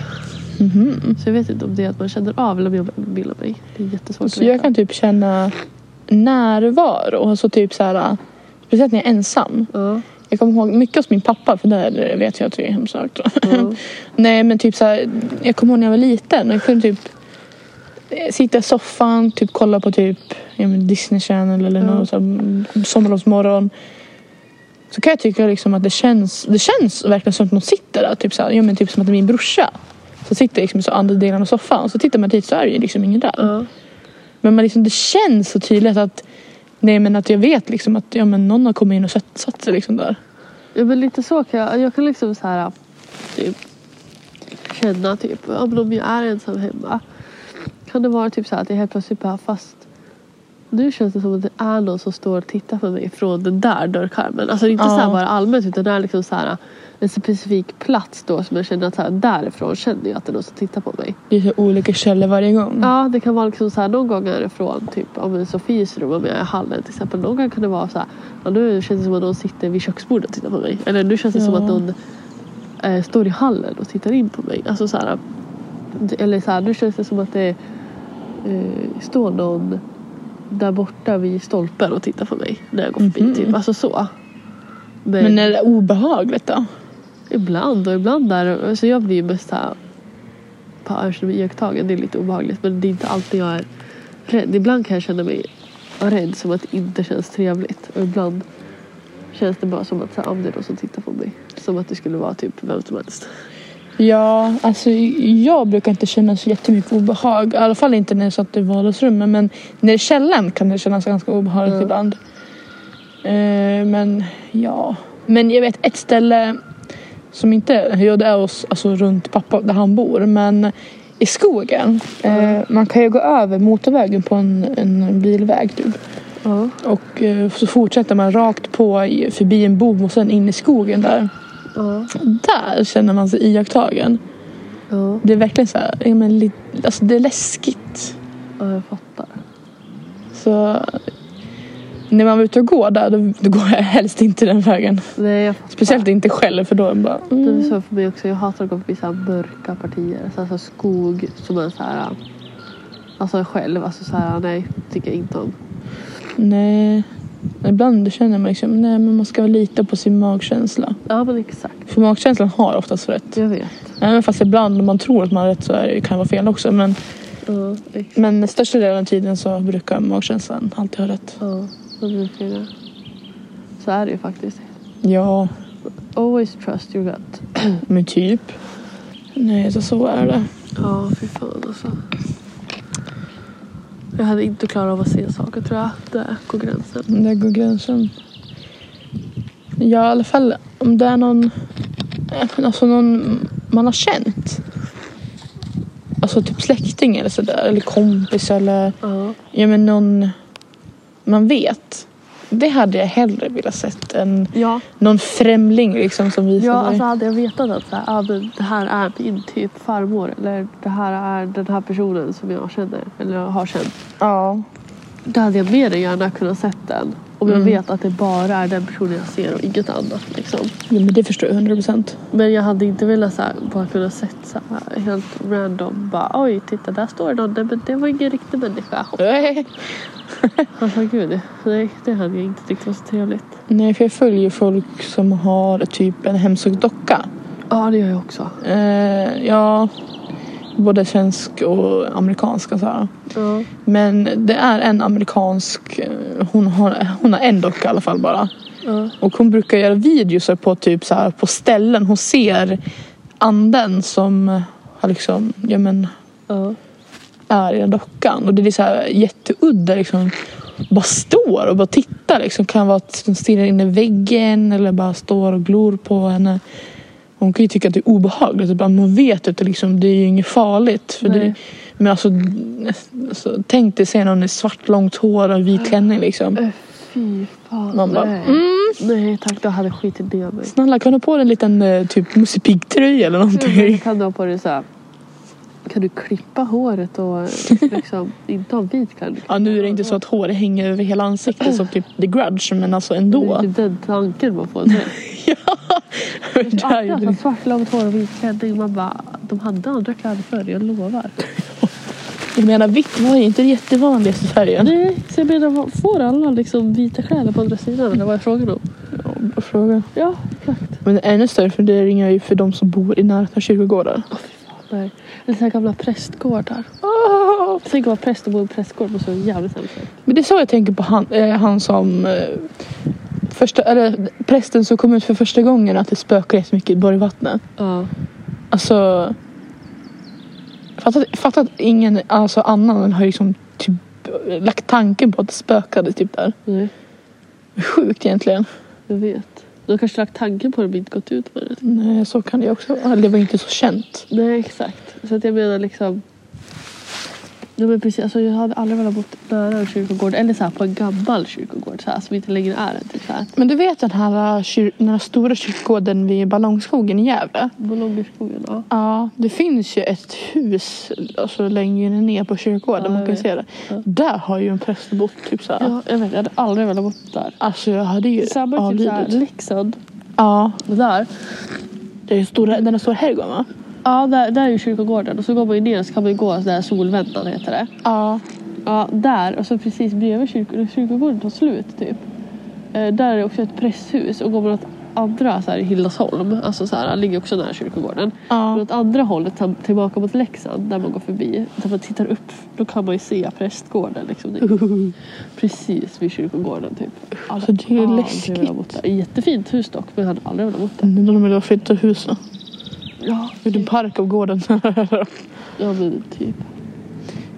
[SPEAKER 1] Mm-hmm.
[SPEAKER 2] Så jag vet inte om det är att man känner av eller om jag bildar mig. Det är jättesvårt
[SPEAKER 1] Så jag kan typ känna närvaro. Alltså typ så här, speciellt när jag är ensam.
[SPEAKER 2] Ja,
[SPEAKER 1] Jag kommer ihåg mycket hos min pappa för där vet jag att det är hemskt högt.
[SPEAKER 2] ja,
[SPEAKER 1] Nej men typ så här, jag kommer ihåg när jag var liten och jag kunde typ eh, sitta i soffan, typ kolla på typ ja, men Disney Channel eller
[SPEAKER 2] Ja.
[SPEAKER 1] något så här, mm, sommarlovsmorgon. Så kan jag tycka liksom att det känns, det känns verkligen som att någon sitter där. Typ, så här, ja, men typ som att det är min brorsa. Så sitter liksom i så andra delen av soffan. Så tittar man dit så är det ju liksom ingen där.
[SPEAKER 2] ja.
[SPEAKER 1] Men man liksom, det känns så tydligt att Nej men att jag vet liksom att ja, men någon har kommit in och satt, satt sig liksom där.
[SPEAKER 2] Ja men lite så kan jag, jag kan liksom så här typ känna typ, ja, men om jag är ensam hemma kan det vara typ så här att jag helt plötsligt bara fast nu känns det som att det är någon som står och tittar på mig från den där dörrkarmen. Alltså inte så här
[SPEAKER 1] Ja.
[SPEAKER 2] bara allmänt utan det är liksom så här en specifik plats då som jag känner att så här, därifrån känner jag att det är någon som tittar på mig.
[SPEAKER 1] Det är så olika källor varje gång.
[SPEAKER 2] Ja, det kan vara liksom så här, någon gång är det från typ, ja, men Sofies rum om jag är i hallen till exempel. Någon gång kan det vara så här, ja, nu känns det som att någon sitter vid köksbordet och tittar på mig. Eller nu känns det som
[SPEAKER 1] Ja.
[SPEAKER 2] att någon eh, står i hallen och tittar in på mig. Alltså så här, eller så här, nu känns det som att det eh, står någon där borta vid stolpen och tittar på mig när jag går förbi.
[SPEAKER 1] Mhm.
[SPEAKER 2] Typ. Alltså så. Men,
[SPEAKER 1] Men är det obehagligt då?
[SPEAKER 2] ibland och ibland där. Så jag blir ju mest såhär på öronen iakttagen. Det är lite obehagligt men det är inte alltid jag är rädd. Ibland kan jag känna mig rädd som att det inte känns trevligt. Och ibland känns det bara som att så här, om det är någon som tittar på mig. Som att det skulle vara typ vem som helst.
[SPEAKER 1] Ja, alltså jag brukar inte känna så jättemycket obehag. I alla fall inte när jag satt i vardagsrummet. Men när det är källan kan det kännas ganska obehagligt
[SPEAKER 2] Mm.
[SPEAKER 1] ibland. Eh, men ja. Men jag vet ett ställe som inte, ja det är oss, alltså runt pappa där han bor. Men i skogen. Eh, man kan ju gå över motorvägen på en, en bilväg typ.
[SPEAKER 2] Ja.
[SPEAKER 1] Och eh, så fortsätter man rakt på i- förbi en bom och sen in i skogen där.
[SPEAKER 2] Ja.
[SPEAKER 1] Där känner man sig iakttagen.
[SPEAKER 2] Ja.
[SPEAKER 1] Det är verkligen så här, ja, men, li- alltså det är läskigt.
[SPEAKER 2] ja, jag fattar.
[SPEAKER 1] Så när man var ute och går där, då, då går jag helst inte den vägen.
[SPEAKER 2] Nej, jag fattar.
[SPEAKER 1] Speciellt inte själv för då är jag bara...
[SPEAKER 2] Det är
[SPEAKER 1] Mm.
[SPEAKER 2] så för mig också. Jag hatar att gå förbi så här mörka partier. Så här, så här skog som är så här... ja, Alltså själv, alltså så här, nej, tycker jag inte om.
[SPEAKER 1] Nej. Ibland känner man liksom, nej men man ska lita på sin magkänsla.
[SPEAKER 2] Ja men exakt,
[SPEAKER 1] För magkänslan har oftast rätt.
[SPEAKER 2] jag vet.
[SPEAKER 1] Även fast ibland om man tror att man har rätt så är det, kan det vara fel också. Men,
[SPEAKER 2] Ja, ex-
[SPEAKER 1] men största delen av tiden så brukar magkänslan alltid ha rätt.
[SPEAKER 2] ja, så brukar jag. Så är det ju faktiskt.
[SPEAKER 1] Ja,
[SPEAKER 2] Always trust your gut.
[SPEAKER 1] men typ. Nej, så, så är det.
[SPEAKER 2] Ja, fy fan alltså. Jag hade inte klarat av att se saker tror jag. Där går gränsen.
[SPEAKER 1] Där går gränsen. Ja, i alla fall om det är någon, eh, alltså någon man har känt. Alltså typ släkting eller sådär, eller kompis eller
[SPEAKER 2] Ja.
[SPEAKER 1] ja, men någon man vet. Det hade jag hellre velat sett än
[SPEAKER 2] Ja,
[SPEAKER 1] någon främling liksom som visar
[SPEAKER 2] ja
[SPEAKER 1] sig.
[SPEAKER 2] alltså hade jag vetat att så här, ah, men det här är min typ farmor eller det här är den här personen som jag känner eller har känt.
[SPEAKER 1] Ja.
[SPEAKER 2] Då hade jag mer än gärna kunnat sett den. Om jag
[SPEAKER 1] Mm.
[SPEAKER 2] vet att det bara är den personen jag ser och inget annat. Liksom.
[SPEAKER 1] Jo, men det förstår jag 100 procent.
[SPEAKER 2] Men jag hade inte velat så här, bara kunna sett så här, helt random. Bara, Oj, titta där står någon. Nej, men det var ingen riktig människa. Alltså gud, nej det hade jag inte tyckt var så trevligt.
[SPEAKER 1] Nej, för jag följer ju folk som har typ en hemsökt docka.
[SPEAKER 2] Ja det gör jag också.
[SPEAKER 1] Eh, ja, både svensk och amerikansk. Alltså. här.
[SPEAKER 2] Ja.
[SPEAKER 1] Men det är en amerikansk, eh, hon har, hon har en docka i alla fall bara.
[SPEAKER 2] Ja.
[SPEAKER 1] Och hon brukar göra videos på typ så här, på ställen hon ser anden som har liksom, ja men
[SPEAKER 2] Ja.
[SPEAKER 1] är i den dockan. Och det är så här jätteudda liksom. Bara står och bara tittar liksom. Kan vara att hon stirrar in i väggen eller bara står och glor på henne. Hon kan ju tycka att det är obehagligt. Ibland men hon vet att det, liksom, det är ju inget farligt. För det,
[SPEAKER 2] Nej.
[SPEAKER 1] men alltså, alltså tänk dig se någon i svart långt hår och vit klänning liksom.
[SPEAKER 2] Äh, Fy fan.
[SPEAKER 1] Man bara,
[SPEAKER 2] nej. nej tack, då hade jag skitit ner mig.
[SPEAKER 1] Snälla kan du ha på dig en liten eh, typ Musse Pigg-tröja eller
[SPEAKER 2] Mm.
[SPEAKER 1] någonting?
[SPEAKER 2] Kan du ha på dig så här, kan du klippa håret och liksom inte ha vit klänning?
[SPEAKER 1] Ja, nu är det inte så att håret hänger över hela ansiktet som typ The Grudge men alltså
[SPEAKER 2] Det är
[SPEAKER 1] ändå.
[SPEAKER 2] typ den tanken man får. direkt.
[SPEAKER 1] Det är ju-
[SPEAKER 2] Alla har svart långt hår och vit klänning. Man bara, de hade andra kläder förr, jag lovar.
[SPEAKER 1] Jag menar vitt var ju inte den jättevanligaste färgen.
[SPEAKER 2] Nej, så jag menar, vad- får alla liksom vita kläder på andra sidan eller vad är frågan om?
[SPEAKER 1] Bra fråga.
[SPEAKER 2] Ja, exakt.
[SPEAKER 1] Men ännu större funderingar är ju för de som bor i närheten av kyrkogårdar.
[SPEAKER 2] Nej. Eller så här gamla prästgårdar. Tänk att vara präst och bo i en prästgård måste vara jävligt hemskt.
[SPEAKER 1] Men det är så jag tänker på han, eh, han som eh, första, eller, prästen som kom ut för första gången att det spökar jättemycket i Borgvattnet.
[SPEAKER 2] Ja.
[SPEAKER 1] Alltså fatta, fatta att ingen alltså, annan har liksom typ lagt tanken på att det spökade typ där.
[SPEAKER 2] Nej,
[SPEAKER 1] Sjukt egentligen.
[SPEAKER 2] jag vet. De kanske lagt tanken på det men inte gått ut med det.
[SPEAKER 1] Nej, så kan det ju också vara. Det var ju inte så känt.
[SPEAKER 2] Nej, exakt. Så att jag menar liksom... Ja, men precis. Alltså, jag hade aldrig velat bo nära en kyrkogård eller så här, på en gammal kyrkogård så här, som inte längre är en. Typ, så här.
[SPEAKER 1] Men du vet den här, eh, kyr- den här stora kyrkogården vid Ballongskogen i Gävle?
[SPEAKER 2] Ballongerskogen, ja.
[SPEAKER 1] Ja, det finns ju ett hus alltså, längre ner på kyrkogården.
[SPEAKER 2] Ja,
[SPEAKER 1] man
[SPEAKER 2] jag
[SPEAKER 1] kan
[SPEAKER 2] vet.
[SPEAKER 1] se det.
[SPEAKER 2] Ja.
[SPEAKER 1] Där har ju en präst bott. Typ, såhär.
[SPEAKER 2] ja. Jag vet, jag hade aldrig velat bo där.
[SPEAKER 1] Alltså jag hade ju
[SPEAKER 2] Samma typ så här, Leksand.
[SPEAKER 1] Ja,
[SPEAKER 2] Det där.
[SPEAKER 1] det är ju stora, den är stor herrgård va?
[SPEAKER 2] Ja, där, där är ju kyrkogården. Och så går man ju ner så kan man ju gå där Solväntan heter det.
[SPEAKER 1] Ja.
[SPEAKER 2] Ja, där och så precis bredvid kyrk- kyrkogården tar slut typ. Eh, där är det också ett presshus och går man åt andra så här i Hildasholm, alltså så här, ligger också nära kyrkogården. Men
[SPEAKER 1] ja.
[SPEAKER 2] åt andra hållet, tam- tillbaka mot Leksand, där man går förbi, där man tittar upp, då kan man ju se prästgården liksom. Det är precis vid kyrkogården typ.
[SPEAKER 1] Alltså det är ju
[SPEAKER 2] Aldrig
[SPEAKER 1] läskigt.
[SPEAKER 2] velat bo där. Jättefint hus dock, men jag hade aldrig velat bo där.
[SPEAKER 1] Nu när de vill flytta husen.
[SPEAKER 2] Ja,
[SPEAKER 1] Gjorde en park av gården.
[SPEAKER 2] ja men typ.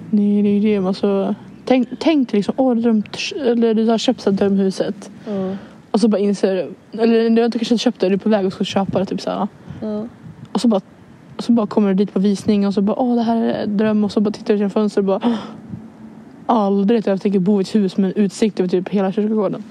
[SPEAKER 1] Nej, det är ju det. men Alltså, tänk, tänk dig liksom, åh, drömt, eller du har köpt så här drömhuset.
[SPEAKER 2] Ja,
[SPEAKER 1] Och så bara inser du, eller du har inte kanske köpt det, du är på väg att ska köpa det. Typ så här.
[SPEAKER 2] ja.
[SPEAKER 1] Och så bara, och så bara kommer du dit på visning och så bara åh det här är en dröm och så bara tittar du genom fönstret och bara "Åh, aldrig att jag tänker bo i ett hus med utsikt över typ hela kyrkogården.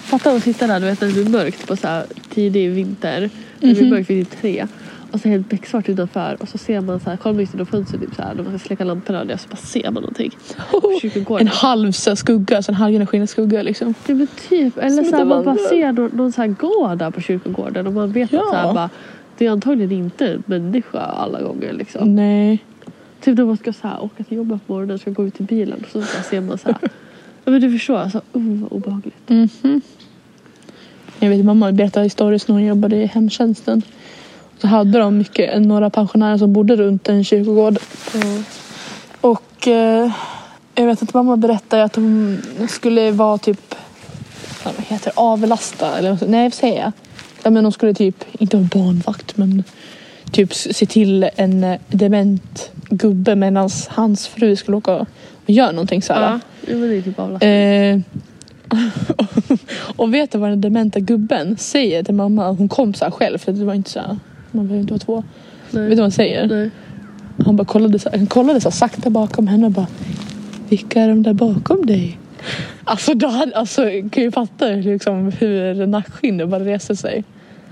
[SPEAKER 2] Fatta att sitta där du vet, när det blir mörkt på så här tidig vinter. När det blir
[SPEAKER 1] Mhm.
[SPEAKER 2] mörkt vid tre. Och så är det helt becksvart utanför och så ser man så här, kollar man ut genom fönstret typ så här, när man ska släcka lamporna och det, så bara ser man någonting. På
[SPEAKER 1] Oh, En
[SPEAKER 2] kyrkogården.
[SPEAKER 1] halv så här, skugga, alltså en halvgenerasjonens skugga liksom.
[SPEAKER 2] Ja, men typ, eller
[SPEAKER 1] Som
[SPEAKER 2] så här,
[SPEAKER 1] ett
[SPEAKER 2] man bara
[SPEAKER 1] vandrar.
[SPEAKER 2] ser någon, någon så här gå där på kyrkogården och man vet
[SPEAKER 1] Ja. Mm.
[SPEAKER 2] att så här, bara, det är antagligen inte en människa alla gånger liksom.
[SPEAKER 1] Nej.
[SPEAKER 2] Typ när man ska så här, åka till jobbet på morgonen och ska gå ut till bilen så bara ser man så här. Ja, men du förstår, alltså, oh, vad obehagligt.
[SPEAKER 1] Mhm. Jag vet mamma berättade historiskt när hon jobbade i hemtjänsten. Så hade de mycket, några pensionärer som bodde runt en kyrkogård. Och eh, jag vet att mamma berättade att hon skulle vara typ, vad heter det, avlasta eller något, nej vad säger jag? Ja, men hon skulle typ, inte ha barnvakt men typ s- se till en eh, dement gubbe medan hans fru skulle åka och göra någonting så här. va?
[SPEAKER 2] Ja, ja, men det är typ avlastning.
[SPEAKER 1] Eh, och vet du vad den dementa gubben säger till mamma? Hon kom så här själv för det var inte så här, man behöver inte vara två.
[SPEAKER 2] Nej.
[SPEAKER 1] Vet du vad han säger?
[SPEAKER 2] Nej.
[SPEAKER 1] Han bara kollade så, här, han kollade så här sakta bakom henne och bara Vilka är de där bakom dig? Alltså, då hade, alltså kan ju fatta liksom, hur nackskinnet bara reser sig.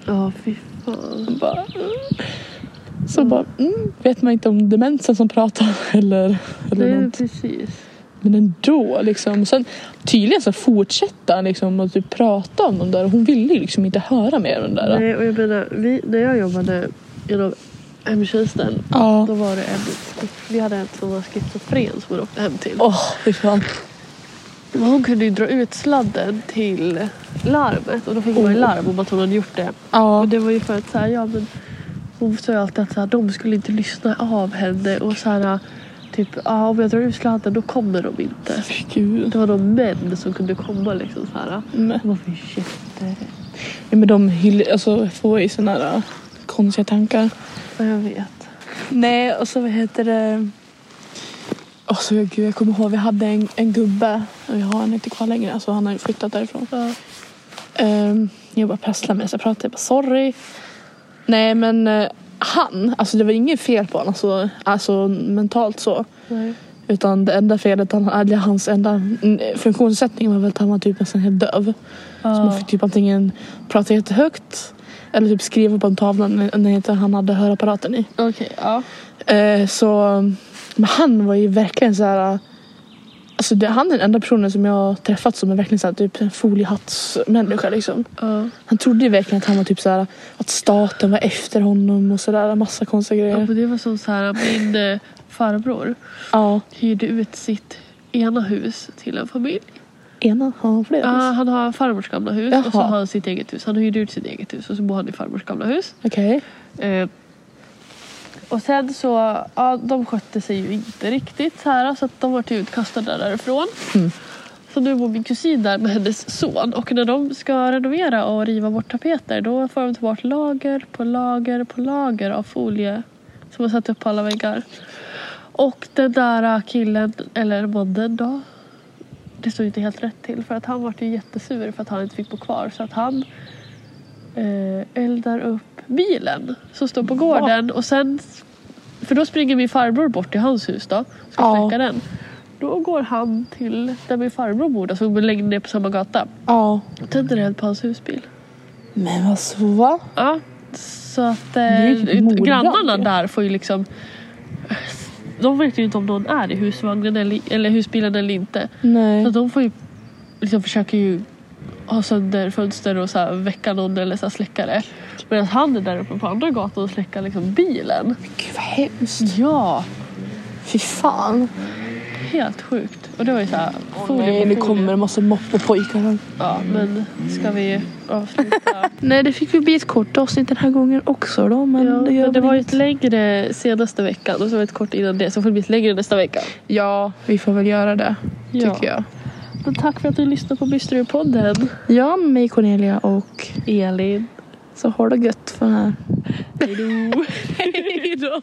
[SPEAKER 2] Ja, fy fan.
[SPEAKER 1] Bara, mm. Så bara, mm, vet man inte om demensen som pratar eller, eller
[SPEAKER 2] Nej,
[SPEAKER 1] någonting.
[SPEAKER 2] precis.
[SPEAKER 1] Men ändå liksom. Sen, tydligen så fortsätter han liksom att typ prata om de där. Hon ville ju liksom inte höra mer om de där.
[SPEAKER 2] Nej, och jag menar, vi, när jag jobbade inom hemtjänsten
[SPEAKER 1] Ja.
[SPEAKER 2] då var det en, vi hade en som var schizofren som vi åkte hem till.
[SPEAKER 1] Åh, fy fan.
[SPEAKER 2] Men Hon kunde ju dra ut sladden till larmet och då fick man ju
[SPEAKER 1] Oh.
[SPEAKER 2] larm om att hon hade gjort det.
[SPEAKER 1] Ja.
[SPEAKER 2] Och det var ju för att så här, ja men hon sa ju alltid att så här, de skulle inte lyssna av henne och så här typ ja om jag drar ut sladden då kommer de inte.
[SPEAKER 1] Fy Gud.
[SPEAKER 2] Det var de män som kunde komma liksom så här.
[SPEAKER 1] Mm.
[SPEAKER 2] Hon var för jätte...
[SPEAKER 1] Ja, men de hyll, alltså, får ju såna där konstiga tankar.
[SPEAKER 2] Ja, jag vet.
[SPEAKER 1] Nej, och så vad heter det? Och så, gud, jag kommer ihåg, vi hade en, en gubbe. och Vi har han inte kvar längre. Alltså, han har ju flyttat därifrån.
[SPEAKER 2] Ja.
[SPEAKER 1] Ehm, jag bara prasslade med så jag pratade. Jag bara sorry. Nej men eh, han, alltså det var inget fel på honom alltså, alltså mentalt så.
[SPEAKER 2] Nej.
[SPEAKER 1] Utan det enda felet, han, eller hans enda mm, funktionssättning var väl att han var typ nästan helt döv. Så man
[SPEAKER 2] Ja.
[SPEAKER 1] fick typ antingen prata jättehögt eller typ skriva på en tavla när när inte han hade hörapparaten i.
[SPEAKER 2] Okej, ja.
[SPEAKER 1] Eh, så, men han var ju verkligen så här. Alltså det, han är den enda personen som jag har träffat som är verkligen så här, typ en foliehattsmänniska liksom.
[SPEAKER 2] ja.
[SPEAKER 1] Han trodde ju verkligen att han var typ så här att staten var efter honom och sådär. Massa konstiga
[SPEAKER 2] Ja,
[SPEAKER 1] grejer.
[SPEAKER 2] men det var som så här, min eh, farbror
[SPEAKER 1] Ja.
[SPEAKER 2] hyrde ut sitt ena hus till en familj.
[SPEAKER 1] Ena har han flera.
[SPEAKER 2] Ja, han har farmors gamla hus och så
[SPEAKER 1] Jaha.
[SPEAKER 2] har han sitt eget hus. Han hyrde ut sitt eget hus och så bor han i farmors gamla hus.
[SPEAKER 1] Okej.
[SPEAKER 2] Eh, och sen så, ja de skötte sig ju inte riktigt så här så att de vart ju utkastade därifrån.
[SPEAKER 1] Mm.
[SPEAKER 2] Så nu bor min kusin där med hennes son och när de ska renovera och riva bort tapeter då får de ta bort lager på lager på lager av folie som har satt upp på alla väggar. Och den där killen, eller mannen då, det stod ju inte helt rätt till för att han vart ju jättesur för att han inte fick bo kvar så att han eh, eldar upp bilen som står på gården och sen för då springer min farbror bort till hans hus då ska
[SPEAKER 1] Ja.
[SPEAKER 2] släcka den. Då går han till där min farbror bor, alltså hon bor längre ner på samma gata.
[SPEAKER 1] Ja.
[SPEAKER 2] Och tänder eld på hans husbil.
[SPEAKER 1] Men vad så va?
[SPEAKER 2] Ja, så att
[SPEAKER 1] är
[SPEAKER 2] eh,
[SPEAKER 1] ju ett mordbrand
[SPEAKER 2] grannarna
[SPEAKER 1] ju.
[SPEAKER 2] där får ju liksom... De vet ju inte om någon är i husvagnen eller, eller husbilen eller inte.
[SPEAKER 1] Nej.
[SPEAKER 2] Så de får ju liksom försöker ju ha sönder fönster och så här väcka någon eller så här släcka det. Medan han är där uppe på andra gatan och släcker liksom bilen.
[SPEAKER 1] Gud vad hemskt.
[SPEAKER 2] Ja,
[SPEAKER 1] Fy fan.
[SPEAKER 2] helt sjukt. Och det var ju så här folie
[SPEAKER 1] Nej,
[SPEAKER 2] på
[SPEAKER 1] nu
[SPEAKER 2] folie.
[SPEAKER 1] kommer en massa moppepojkar här.
[SPEAKER 2] Ja, men ska vi avsluta?
[SPEAKER 1] Nej, det fick vi bli ett kort avsnitt den här gången också då. Men
[SPEAKER 2] ja,
[SPEAKER 1] det gör
[SPEAKER 2] men det
[SPEAKER 1] väl
[SPEAKER 2] var ju
[SPEAKER 1] inget.
[SPEAKER 2] ett längre senaste veckan och så var det ett kort innan det. Så får det bli ett längre nästa vecka.
[SPEAKER 1] Ja, vi får väl göra det.
[SPEAKER 2] Ja.
[SPEAKER 1] Tycker jag.
[SPEAKER 2] Men tack för att du lyssnade på Bysterudpodden.
[SPEAKER 1] Ja, med mig Cornelia och
[SPEAKER 2] Elin.
[SPEAKER 1] så har det gött för den här.
[SPEAKER 2] Hejdå.
[SPEAKER 1] Hejdå.